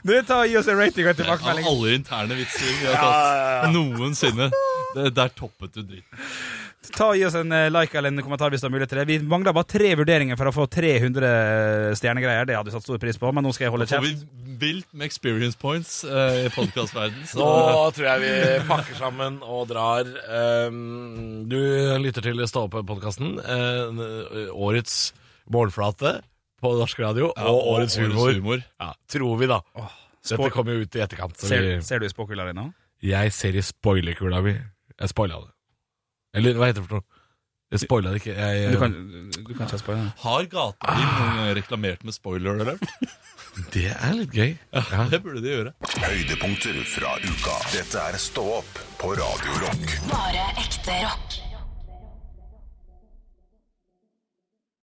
Du, ta og Gi oss en rating og en
Av
tilbakemelding.
alle interne vitser vi har tatt noensinne. Det, der toppet du dritten.
Ta og Gi oss en eh, like eller en kommentar hvis du har mulighet til det. Vi mangler bare tre vurderinger for å få 300 stjernegreier. Det hadde vi satt stor pris på, men nå skal jeg holde
Får
kjeft.
vi vilt med experience points eh, i podkastverden
Nå
så
tror jeg vi pakker sammen og drar. Ehm, Du lytter til Stå opp-podkasten. Årets målflate på norsk radio
Ja,
og årets humor.
humor.
Ja, tror vi, da. Dette
spå-
kommer jo ut i etterkant. Så
Ser,
vi,
ser du i spåkula di nå?
jeg ser i spoilerkula mi. Jeg spoila det. Eller hva heter det for noe? Jeg spoila det ikke. Jeg,
Du kan, du kan ikke ha spoiler.
Har gatebil noen gang reklamert med spoiler alert?
Det er litt gøy. Ja.
Det burde de gjøre.
Høydepunkter fra uka. Dette er Stå opp på Radio Rock.
Bare ekte rock.